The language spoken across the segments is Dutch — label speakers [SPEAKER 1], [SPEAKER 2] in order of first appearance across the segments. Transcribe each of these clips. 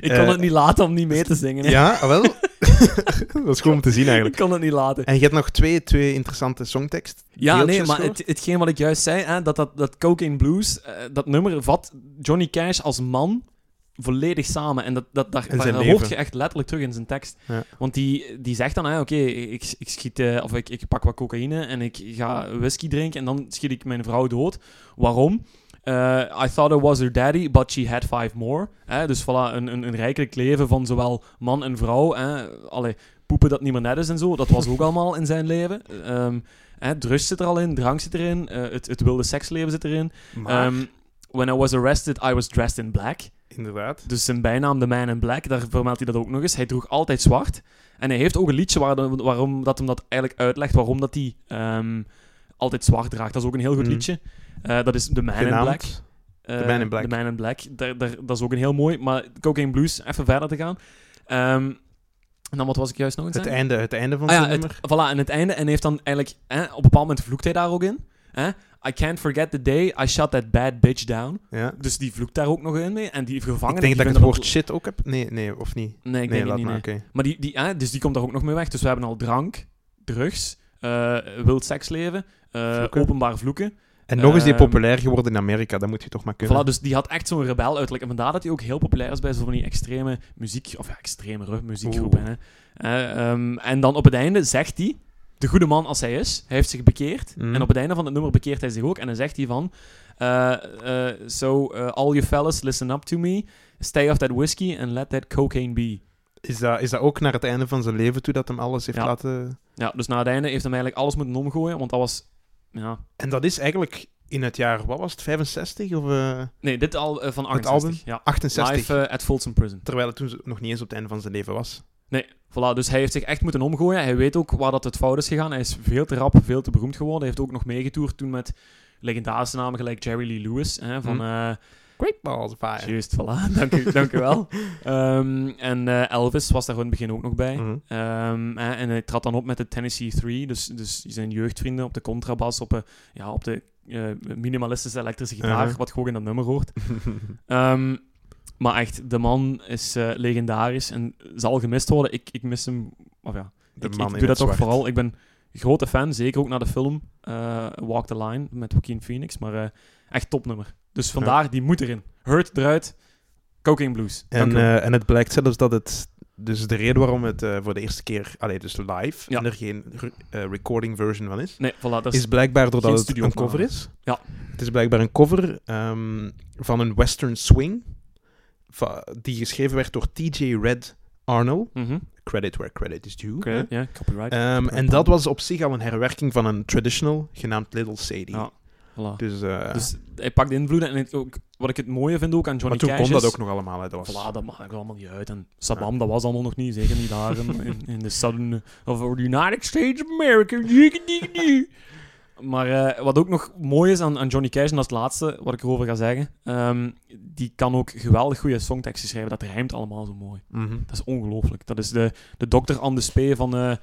[SPEAKER 1] Ik kan
[SPEAKER 2] Eh,
[SPEAKER 1] het niet laten om niet mee te zingen. hè.
[SPEAKER 2] Ja, ah, wel. dat is gewoon om te zien
[SPEAKER 1] Ik
[SPEAKER 2] eigenlijk.
[SPEAKER 1] kan het niet laten.
[SPEAKER 2] En je hebt nog twee, twee interessante songtekst.
[SPEAKER 1] Ja,
[SPEAKER 2] Deeltjes
[SPEAKER 1] nee, maar
[SPEAKER 2] gewoon?
[SPEAKER 1] het, hetgeen wat ik juist zei, hè, dat, dat, dat Cocaine Blues, eh, dat nummer vat Johnny Cash als man volledig samen. En dat, dat, dat,
[SPEAKER 2] En
[SPEAKER 1] daar
[SPEAKER 2] zijn
[SPEAKER 1] hoort
[SPEAKER 2] leven.
[SPEAKER 1] je echt letterlijk terug in zijn tekst.
[SPEAKER 2] Ja.
[SPEAKER 1] Want die, die zegt dan, hè, oké, ik, ik schiet, eh, of ik, ik pak wat cocaïne en ik ga whisky drinken en dan schiet ik mijn vrouw dood. Waarom? Eh, I thought I was her daddy, but she had five more. Hè, dus voilà, een, een, een rijkelijk leven van zowel man en vrouw. Hè, allee, poepen dat niemand net is en zo, dat was ook allemaal in zijn leven. Ehm hè, drugs zit er al in, drank zit erin, eh, het, het wilde seksleven zit erin. Ehm, when I was arrested, I was dressed in black.
[SPEAKER 2] Inderdaad.
[SPEAKER 1] Dus zijn bijnaam, The Man in Black, daar vermeldt hij dat ook nog eens. Hij droeg altijd zwart. En hij heeft ook een liedje waar, waarom dat hem dat eigenlijk uitlegt, waarom dat hij ehm, altijd zwart draagt. Dat is ook een heel goed
[SPEAKER 2] Mhm.
[SPEAKER 1] liedje. Eh, dat is The Man in Black.
[SPEAKER 2] Genaamd.
[SPEAKER 1] Eh,
[SPEAKER 2] Man in Black.
[SPEAKER 1] The Man in Black. Daar, daar, dat is ook een heel mooi. Maar Cocaine Blues, even verder te gaan. Ehm, en dan wat was ik juist nog aan het
[SPEAKER 2] Het
[SPEAKER 1] zeggen?
[SPEAKER 2] einde, het einde van
[SPEAKER 1] Ah
[SPEAKER 2] het
[SPEAKER 1] ja,
[SPEAKER 2] nummer.
[SPEAKER 1] het, voilà, en het einde. En heeft dan eigenlijk... eh, op een bepaald moment vloekt hij daar ook in. Eh, I can't forget the day I shut that bad bitch down.
[SPEAKER 2] Ja.
[SPEAKER 1] Dus die vloekt daar ook nog in mee. En die
[SPEAKER 2] Ik
[SPEAKER 1] gevangenen...
[SPEAKER 2] denk
[SPEAKER 1] die
[SPEAKER 2] dat ik het
[SPEAKER 1] vinden
[SPEAKER 2] woord shit ook heb. Nee, nee, of niet?
[SPEAKER 1] Nee, ik
[SPEAKER 2] nee,
[SPEAKER 1] denk het
[SPEAKER 2] laat
[SPEAKER 1] niet.
[SPEAKER 2] maar,
[SPEAKER 1] nee.
[SPEAKER 2] oké.
[SPEAKER 1] Maar die, die, eh, dus die komt daar ook nog mee weg. Dus we hebben al drank, drugs, eh, wild seksleven, eh,
[SPEAKER 2] Vloeken.
[SPEAKER 1] openbaar vloeken.
[SPEAKER 2] En nog eens die
[SPEAKER 1] Ehm,
[SPEAKER 2] populair geworden in Amerika, dat moet je toch maar kunnen.
[SPEAKER 1] Voilà, dus die had echt zo'n rebel uiterlijk. En vandaar dat hij ook heel populair is bij zo van die extreme muziek... Of ja, extremere muziekgroepen. Hè. Eh, ehm, en dan op het einde zegt hij... De goede man als hij is, hij heeft zich bekeerd.
[SPEAKER 2] Mm.
[SPEAKER 1] En op het einde van het nummer bekeert hij zich ook. En dan zegt hij van... eh, eh, so, eh, all you fellas, listen up to me. Stay off that whiskey and let that cocaine be.
[SPEAKER 2] is, dat, is dat ook naar het einde van zijn leven toe dat hem alles heeft
[SPEAKER 1] Ja.
[SPEAKER 2] laten...
[SPEAKER 1] Ja, dus na het einde heeft hem eigenlijk alles moeten omgooien, want dat was... Ja.
[SPEAKER 2] En dat is eigenlijk in het jaar, wat was het, 65 of eh,
[SPEAKER 1] Nee, dit al eh, van
[SPEAKER 2] Het
[SPEAKER 1] 68. Ja.
[SPEAKER 2] 68?
[SPEAKER 1] Live eh, at Folsom Prison.
[SPEAKER 2] Terwijl het toen nog niet eens op het einde van zijn leven was.
[SPEAKER 1] Nee, voilà. Dus hij heeft zich echt moeten omgooien. Hij weet ook waar dat het fout is gegaan. Hij is veel te rap, veel te beroemd geworden. Hij heeft ook nog meegetoerd toen met legendarische namen gelijk Jerry Lee Lewis. Hè, van,
[SPEAKER 2] Hm. Ah,
[SPEAKER 1] eh,
[SPEAKER 2] Great balls of fire.
[SPEAKER 1] Juist, voilà. Dank u, dank u wel. Ehm, en eh, Elvis was daar in het begin ook nog bij.
[SPEAKER 2] Mhm.
[SPEAKER 1] Ehm, hè, en hij trad dan op met de Tennessee 3, dus, dus zijn jeugdvrienden op de contrabas, op, eh, ja, op de eh, minimalistische elektrische gitaar,
[SPEAKER 2] Mhm.
[SPEAKER 1] wat gewoon in dat nummer hoort. Ehm, maar echt, de man is eh, legendarisch en zal gemist worden. Ik, ik mis hem, of ja,
[SPEAKER 2] De
[SPEAKER 1] ik,
[SPEAKER 2] man
[SPEAKER 1] ik
[SPEAKER 2] in
[SPEAKER 1] doe dat
[SPEAKER 2] het
[SPEAKER 1] toch
[SPEAKER 2] zwart.
[SPEAKER 1] vooral. Ik ben grote fan, zeker ook naar de film eh, Walk the Line met Joaquin Phoenix, maar eh, echt topnummer. Dus vandaar, die moet erin. Hurt eruit, Cocaine Blues.
[SPEAKER 2] En,
[SPEAKER 1] Dank u wel.
[SPEAKER 2] eh, en het blijkt zelfs dat het... Dus de reden waarom het eh, voor de eerste keer... Allee, dus live,
[SPEAKER 1] Ja.
[SPEAKER 2] en er geen re- eh, recording version van is...
[SPEAKER 1] nee, voilà, dat is,
[SPEAKER 2] is blijkbaar doordat
[SPEAKER 1] geen
[SPEAKER 2] het een
[SPEAKER 1] studioopname.
[SPEAKER 2] cover is.
[SPEAKER 1] Ja.
[SPEAKER 2] Het is blijkbaar een cover ehm, van een western swing va- die geschreven werd door TJ Red Arnold.
[SPEAKER 1] Mhm.
[SPEAKER 2] Credit where credit is due.
[SPEAKER 1] Oké,
[SPEAKER 2] hè.
[SPEAKER 1] ja, copyright.
[SPEAKER 2] Ehm, en dat was op zich al een herwerking van een traditional genaamd Little Sadie.
[SPEAKER 1] Ja, voilà.
[SPEAKER 2] Dus, eh,
[SPEAKER 1] Dus hij pakt de invloeden en het ook, wat ik het mooie vind ook aan
[SPEAKER 2] maar
[SPEAKER 1] Johnny
[SPEAKER 2] toen
[SPEAKER 1] Cash
[SPEAKER 2] kon dat
[SPEAKER 1] is-
[SPEAKER 2] ook nog allemaal. Hè. Dat was,
[SPEAKER 1] Voilà, dat maakt allemaal niet uit. En Saddam, dat was allemaal nog niet. Zeker niet daar in, in, in de Southern of the United States of America. Jikkedikkedik. Maar eh, wat ook nog mooi is aan, aan Johnny Cash, en dat is het laatste wat ik erover ga zeggen, ehm, die kan ook geweldig goede songteksten schrijven. Dat rijmt allemaal zo mooi.
[SPEAKER 2] Mhm.
[SPEAKER 1] Dat is ongelooflijk. Dat is de, de dokter aan de spee van, eh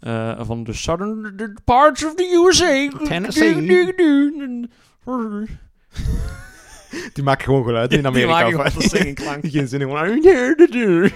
[SPEAKER 1] eh, van de Southern parts of the USA.
[SPEAKER 2] Tennessee. Die maken gewoon geluid in
[SPEAKER 1] Die
[SPEAKER 2] Amerika.
[SPEAKER 1] maken gewoon
[SPEAKER 2] of-
[SPEAKER 1] dat zingen
[SPEAKER 2] Geen zin in. gewoon-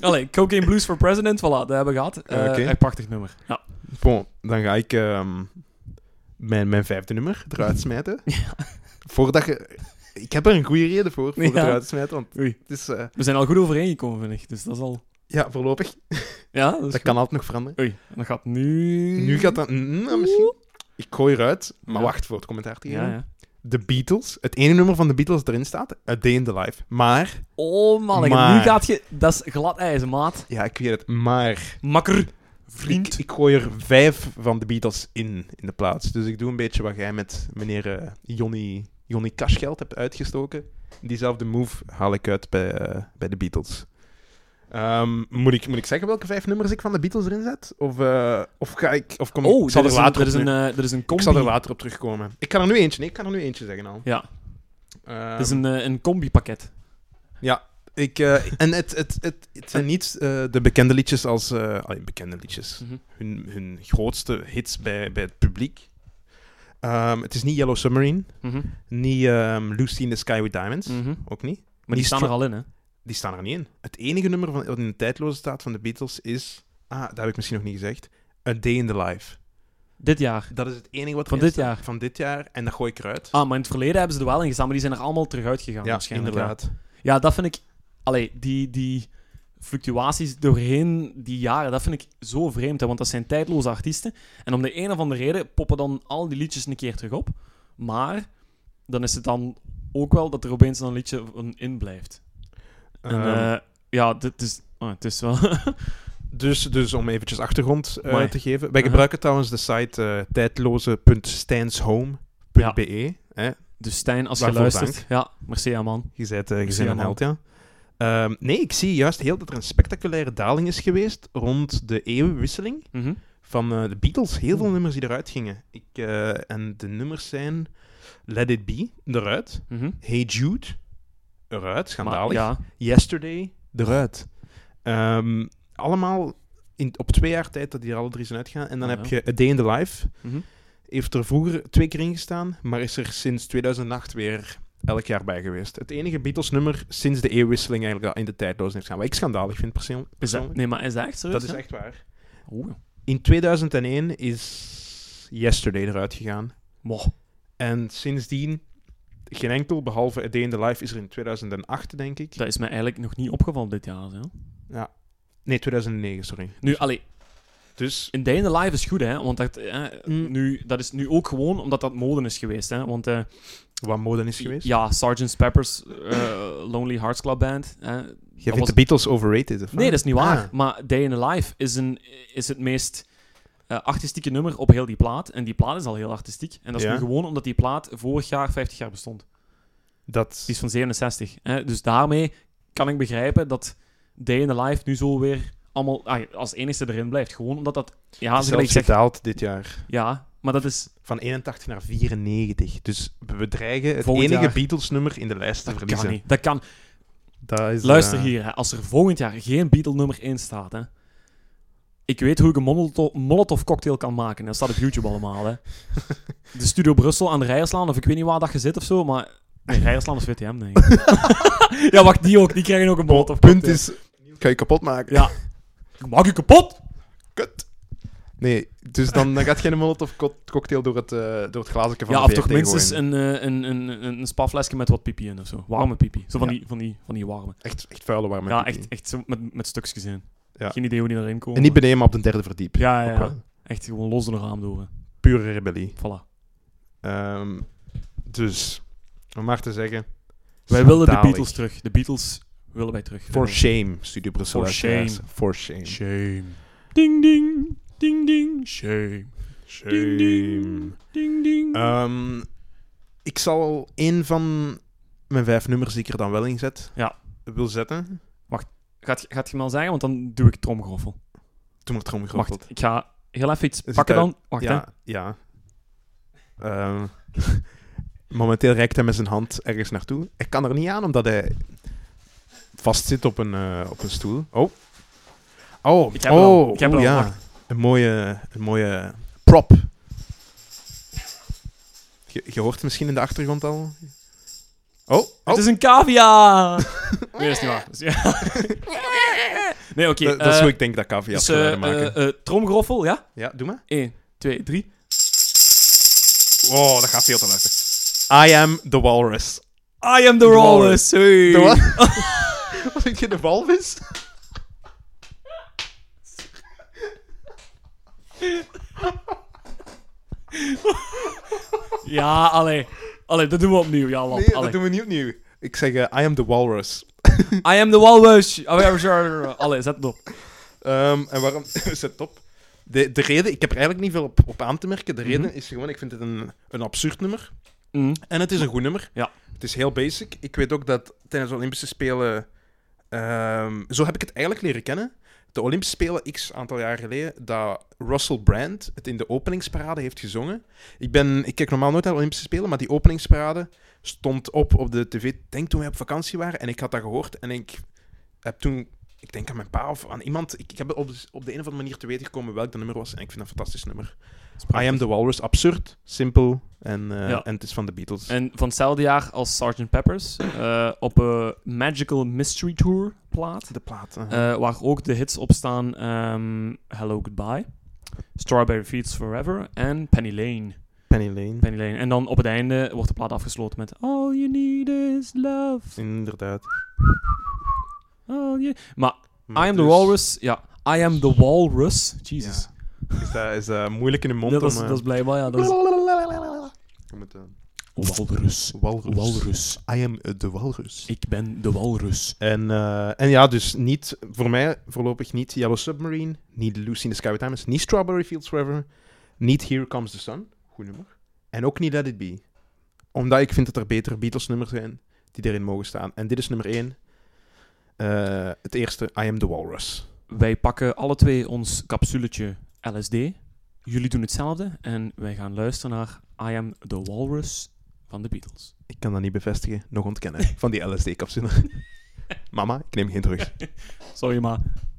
[SPEAKER 1] Allee, Cocaine Blues for President, voilà, dat hebben we gehad. Eh
[SPEAKER 2] Oké.
[SPEAKER 1] Echt prachtig nummer. Ja.
[SPEAKER 2] Bon, dan ga ik ehm, mijn, mijn vijfde nummer eruit smijten. Voordat je... Ik heb er een goede reden voor, voor
[SPEAKER 1] Ja.
[SPEAKER 2] het eruit te smijten, want
[SPEAKER 1] Oei.
[SPEAKER 2] het is... eh,
[SPEAKER 1] We zijn al goed overeengekomen, vind ik. Dus dat is al...
[SPEAKER 2] ja, voorlopig.
[SPEAKER 1] Ja, dat, is
[SPEAKER 2] Dat kan altijd nog veranderen.
[SPEAKER 1] goed. Oei, en dat gaat nu...
[SPEAKER 2] Nu gaat dat... mm, nou, misschien... Ik gooi eruit, maar
[SPEAKER 1] Ja.
[SPEAKER 2] wacht voor het commentaar te geven.
[SPEAKER 1] Ja, ja.
[SPEAKER 2] De Beatles. Het ene nummer van de Beatles dat erin staat, A Day in the Life. Maar...
[SPEAKER 1] Oh, man.
[SPEAKER 2] Maar-
[SPEAKER 1] Nu gaat je... Dat is glad ijzer, maat.
[SPEAKER 2] Ja, ik weet het, maar...
[SPEAKER 1] Makker. Vriend.
[SPEAKER 2] Ik, ik gooi er vijf van de Beatles in, in de plaats. Dus ik doe een beetje wat jij met meneer eh, Johnny, Johnny Cashgeld hebt uitgestoken. Diezelfde move haal ik uit bij, eh, bij de Beatles. Ehm, moet, ik, moet ik zeggen welke vijf nummers ik van de Beatles erin zet? Of, eh, of ga ik... Of kom,
[SPEAKER 1] Oh,
[SPEAKER 2] ik zal er
[SPEAKER 1] dat is, een,
[SPEAKER 2] later
[SPEAKER 1] dat is
[SPEAKER 2] op
[SPEAKER 1] een,
[SPEAKER 2] nu-
[SPEAKER 1] eh, dat is een
[SPEAKER 2] Ik
[SPEAKER 1] combi.
[SPEAKER 2] zal er later op terugkomen. Ik kan er nu eentje... Nee, ik kan er nu eentje zeggen al.
[SPEAKER 1] Ja,
[SPEAKER 2] Ehm,
[SPEAKER 1] dat is een, eh, een combi-pakket.
[SPEAKER 2] ik, eh, en het, het, het, het zijn niet eh, de bekende liedjes als... eh, allee, bekende liedjes.
[SPEAKER 1] Mhm.
[SPEAKER 2] hun, hun grootste hits bij, bij het publiek. Ehm, het is niet Yellow Submarine,
[SPEAKER 1] Mhm.
[SPEAKER 2] niet ehm, Lucy in the Sky with Diamonds,
[SPEAKER 1] Mhm.
[SPEAKER 2] ook niet.
[SPEAKER 1] Maar die staan er al in, hè?
[SPEAKER 2] Die staan er niet in. Het enige nummer van, wat in de tijdloze staat van de Beatles is... Ah, dat heb ik misschien nog niet gezegd. A Day in the Life.
[SPEAKER 1] Dit jaar.
[SPEAKER 2] Dat is het enige wat
[SPEAKER 1] Van
[SPEAKER 2] erin
[SPEAKER 1] dit
[SPEAKER 2] staat.
[SPEAKER 1] jaar.
[SPEAKER 2] Van dit jaar. En dat gooi ik eruit.
[SPEAKER 1] Ah, maar in het verleden hebben ze er wel in gestaan, maar die zijn er allemaal terug uitgegaan.
[SPEAKER 2] ja,
[SPEAKER 1] Ah, waarschijnlijk, ja.
[SPEAKER 2] inderdaad.
[SPEAKER 1] Ja, dat vind ik. Allee, die, die fluctuaties doorheen die jaren, dat vind ik zo vreemd. Hè, want dat zijn tijdloze artiesten. En om de een of andere reden poppen dan al die liedjes een keer terug op. Maar dan is het dan ook wel dat er opeens een liedje van in blijft. En,
[SPEAKER 2] Ehm,
[SPEAKER 1] eh, ja, dit is, oh, het is wel.
[SPEAKER 2] Dus, dus om eventjes achtergrond eh,
[SPEAKER 1] Amai. Mhm.
[SPEAKER 2] te geven. Wij
[SPEAKER 1] Aha.
[SPEAKER 2] gebruiken trouwens de site eh, tijdloze.stijnshome.be. hè.
[SPEAKER 1] dus Stijn, als je
[SPEAKER 2] Waarvoor
[SPEAKER 1] luistert.
[SPEAKER 2] dank.
[SPEAKER 1] Ja, merci aan man.
[SPEAKER 2] Je bent, eh, je
[SPEAKER 1] Ik
[SPEAKER 2] bent
[SPEAKER 1] zie
[SPEAKER 2] een
[SPEAKER 1] hem al.
[SPEAKER 2] held, ja. Ehm, nee, ik zie juist heel dat er een spectaculaire daling is geweest rond de eeuwenwisseling
[SPEAKER 1] Mhm.
[SPEAKER 2] van eh, de Beatles. Heel veel
[SPEAKER 1] Hmm.
[SPEAKER 2] nummers die eruit gingen. Ik, eh, en de nummers zijn Let It Be, eruit.
[SPEAKER 1] mhm.
[SPEAKER 2] Hey Jude, eruit, schandalig.
[SPEAKER 1] Maar, ja,
[SPEAKER 2] Yesterday, eruit. Ehm, allemaal in, op twee jaar tijd dat die er alle drie zijn uitgegaan. En dan
[SPEAKER 1] Ah,
[SPEAKER 2] heb
[SPEAKER 1] ja.
[SPEAKER 2] je A Day in the Life.
[SPEAKER 1] mhm.
[SPEAKER 2] Heeft er vroeger twee keer in gestaan, maar is er sinds 2008 weer elk jaar bij geweest. Het enige Beatles-nummer sinds de eeuwwisseling eigenlijk dat in de tijdloos heeft gaan. Wat ik schandalig vind persoon-
[SPEAKER 1] Is dat,
[SPEAKER 2] persoonlijk.
[SPEAKER 1] nee, maar is dat echt zo?
[SPEAKER 2] Dat is echt waar.
[SPEAKER 1] Oeh.
[SPEAKER 2] In 2001 is Yesterday eruit gegaan.
[SPEAKER 1] Wow.
[SPEAKER 2] En sindsdien geen enkel, behalve A Day in the Life is er in 2008, denk ik.
[SPEAKER 1] Dat is me eigenlijk nog niet opgevallen dit jaar. Hè.
[SPEAKER 2] Dus- Nee, 2009, sorry.
[SPEAKER 1] Nu, allee,
[SPEAKER 2] Dus
[SPEAKER 1] In Day in the Life is goed, hè? Want dat, eh,
[SPEAKER 2] Mm.
[SPEAKER 1] nu, dat is nu ook gewoon omdat dat mode is geweest, hè? Want eh,
[SPEAKER 2] wat mode is geweest.
[SPEAKER 1] ja, Sgt. Pepper's eh, Lonely Hearts Club Band. eh,
[SPEAKER 2] Je
[SPEAKER 1] dat
[SPEAKER 2] vindt
[SPEAKER 1] was-
[SPEAKER 2] de Beatles overrated, of
[SPEAKER 1] Nee, dat is niet waar.
[SPEAKER 2] Ah.
[SPEAKER 1] Maar Day in the Life is, een, is het meest eh, artistieke nummer op heel die plaat. En die plaat is al heel artistiek. En dat is
[SPEAKER 2] Ja.
[SPEAKER 1] nu gewoon omdat die plaat vorig jaar 50 jaar bestond.
[SPEAKER 2] Dat...
[SPEAKER 1] Die is van 67. Hè? Dus daarmee kan ik begrijpen dat Day in the Life nu zo weer allemaal ah, als enigste erin blijft. Gewoon omdat dat... Ja,
[SPEAKER 2] is zelfs
[SPEAKER 1] ik zeg,
[SPEAKER 2] gedaald dit jaar.
[SPEAKER 1] ja maar dat is...
[SPEAKER 2] Van 81 naar 94. Dus we we dreigen het
[SPEAKER 1] Volgend
[SPEAKER 2] enige
[SPEAKER 1] jaar.
[SPEAKER 2] Beatles-nummer in de lijst te
[SPEAKER 1] Dat
[SPEAKER 2] verliezen.
[SPEAKER 1] kan niet. Dat kan
[SPEAKER 2] Dat is,
[SPEAKER 1] Luister
[SPEAKER 2] Dus, eh,
[SPEAKER 1] hier, hè, als er volgend jaar geen Beatle nummer 1 staat, hè, ik weet hoe ik een molotov, molotov cocktail kan maken. Dat staat op YouTube allemaal. Hè. De Studio Brussel aan de Rijerslaan, of ik weet niet waar dat je zit of zo, maar... Nee, Rijerslaan is VTM, denk ik. ja, wacht, die ook. Die krijgen ook een molotov
[SPEAKER 2] Oh, punt
[SPEAKER 1] cocktail.
[SPEAKER 2] is... Kan je kapot maken?
[SPEAKER 1] Ja. Maak je kapot?
[SPEAKER 2] Kut. Nee, dus dan, dan gaat geen molotov co- cocktail door het, eh, door het glazenke van
[SPEAKER 1] ja,
[SPEAKER 2] de
[SPEAKER 1] of toch
[SPEAKER 2] VRT
[SPEAKER 1] minstens
[SPEAKER 2] gooien.
[SPEAKER 1] een, eh, een, een, een, een spaflesje met wat pipi in of zo. Warme pipi. Zo van,
[SPEAKER 2] Ja.
[SPEAKER 1] die, van, die, van die warme.
[SPEAKER 2] Echt, echt vuile warme
[SPEAKER 1] ja,
[SPEAKER 2] pipi.
[SPEAKER 1] echt, echt zo met, met stukjes in.
[SPEAKER 2] Ja.
[SPEAKER 1] Geen idee hoe die erin komen.
[SPEAKER 2] En niet beneden, maar op de derde verdiep.
[SPEAKER 1] ja, ja,
[SPEAKER 2] Ook
[SPEAKER 1] ja.
[SPEAKER 2] wel.
[SPEAKER 1] Echt gewoon los door een raam door. hè.
[SPEAKER 2] Pure rebellie.
[SPEAKER 1] Voilà.
[SPEAKER 2] Ehm, dus, om maar te zeggen...
[SPEAKER 1] Wij willen de
[SPEAKER 2] schandalig.
[SPEAKER 1] Beatles terug. De Beatles willen wij terug.
[SPEAKER 2] For shame, Studio Brussel.
[SPEAKER 1] For
[SPEAKER 2] luisteraars.
[SPEAKER 1] shame.
[SPEAKER 2] For shame.
[SPEAKER 1] Shame. Ding ding. Ding ding. Shame. Ding ding. Ding ding.
[SPEAKER 2] Ehm, ik zal één van mijn vijf nummers die ik er dan wel in zet,
[SPEAKER 1] Ja.
[SPEAKER 2] wil zetten.
[SPEAKER 1] gaat, gaat je me al zeggen, want dan doe ik tromgeroffel.
[SPEAKER 2] Toen wordt tromgeroffeld.
[SPEAKER 1] Wacht, ik ga heel even iets
[SPEAKER 2] Is
[SPEAKER 1] pakken
[SPEAKER 2] het
[SPEAKER 1] dan. Wacht, hè.
[SPEAKER 2] Ja, Oh. ja. Ehm, momenteel reikt hij met zijn hand ergens naartoe. Hij kan er niet aan, omdat hij vastzit op een, eh, op een stoel. Oh. Oh,
[SPEAKER 1] Ik heb
[SPEAKER 2] oh,
[SPEAKER 1] het al. Ik heb
[SPEAKER 2] oh,
[SPEAKER 1] het al.
[SPEAKER 2] ja.
[SPEAKER 1] Wacht.
[SPEAKER 2] Een mooie, een mooie prop. Je, je hoort het misschien in de achtergrond al. Oh, oh.
[SPEAKER 1] Het is een cavia! nee, dat is niet waar. Dus ja. nee, oké.
[SPEAKER 2] dat, dat is
[SPEAKER 1] eh,
[SPEAKER 2] hoe ik denk dat cavia's
[SPEAKER 1] dus,
[SPEAKER 2] dus,
[SPEAKER 1] eh,
[SPEAKER 2] maken.
[SPEAKER 1] eh, eh, Tromgeroffel, ja?
[SPEAKER 2] ja, doe maar.
[SPEAKER 1] 1, 2, 3.
[SPEAKER 2] Oh, dat gaat veel te luisteren. I am the walrus.
[SPEAKER 1] I am the Rawless. Hey.
[SPEAKER 2] Wat denk je, de walvis?
[SPEAKER 1] Ja, allee. Allee, dat doen we opnieuw. Ja, lap.
[SPEAKER 2] Nee,
[SPEAKER 1] allee.
[SPEAKER 2] dat doen we niet opnieuw. Ik zeg, eh, I am the walrus.
[SPEAKER 1] I am the walrus. Oh, ja, sure. Allee, zet het op.
[SPEAKER 2] Ehm, en waarom... Is het top? De, de reden... Ik heb er eigenlijk niet veel op, op aan te merken. De reden
[SPEAKER 1] Mhm.
[SPEAKER 2] is gewoon, ik vind het een, een absurd nummer.
[SPEAKER 1] Mm.
[SPEAKER 2] En het is een goed nummer.
[SPEAKER 1] Ja.
[SPEAKER 2] Het is heel basic. Ik weet ook dat tijdens de Olympische Spelen... ehm, zo heb ik het eigenlijk leren kennen. De Olympische Spelen, x aantal jaar geleden, dat Russell Brand het in de openingsparade heeft gezongen. Ik, ben, ik kijk normaal nooit naar de Olympische Spelen, maar die openingsparade stond op op de tv, denk toen wij op vakantie waren. En ik had dat gehoord en ik heb toen... Ik denk aan mijn pa of aan iemand. Ik, ik heb op, op de een of andere manier te weten gekomen welk dat nummer was. En ik vind dat een fantastisch nummer. I Am The Walrus, absurd, simpel en, eh,
[SPEAKER 1] Ja.
[SPEAKER 2] en het is van de Beatles.
[SPEAKER 1] En van hetzelfde jaar als Sgt. Peppers eh, op een Magical Mystery Tour plaat.
[SPEAKER 2] de plaat. eh.
[SPEAKER 1] eh, waar ook de hits op staan ehm, Hello Goodbye, Strawberry Fields Forever en Penny Lane.
[SPEAKER 2] Penny Lane.
[SPEAKER 1] Penny Lane. En dan op het einde wordt de plaat afgesloten met All You Need Is Love.
[SPEAKER 2] Inderdaad.
[SPEAKER 1] All you... Maar
[SPEAKER 2] Maar
[SPEAKER 1] I Am The
[SPEAKER 2] dus-
[SPEAKER 1] Walrus, ja, I Am The Walrus. Jesus.
[SPEAKER 2] Ja. Is, dat, is dat moeilijk in de mond?
[SPEAKER 1] dat, is,
[SPEAKER 2] om, eh,
[SPEAKER 1] dat is blijkbaar, ja. Dat is...
[SPEAKER 2] Je moet, eh,
[SPEAKER 1] Walrus.
[SPEAKER 2] walrus.
[SPEAKER 1] Walrus.
[SPEAKER 2] I am eh, de walrus.
[SPEAKER 1] Ik ben de walrus.
[SPEAKER 2] En, eh, en ja, dus niet, voor mij voorlopig niet Yellow Submarine, niet Lucy in the Sky with Diamonds, niet Strawberry Fields Forever, niet Here Comes the Sun, goed nummer, en ook niet Let It Be. Omdat ik vind dat er betere Beatles nummers zijn die erin mogen staan. En dit is nummer één. Eh, het eerste, I Am The Walrus.
[SPEAKER 1] Wij pakken alle twee ons capsuletje LSD. Jullie doen hetzelfde en wij gaan luisteren naar I Am The Walrus van de Beatles.
[SPEAKER 2] Ik kan dat niet bevestigen, nog ontkennen, van die LSD-capsule. Mama, ik neem geen terug.
[SPEAKER 1] Sorry, maar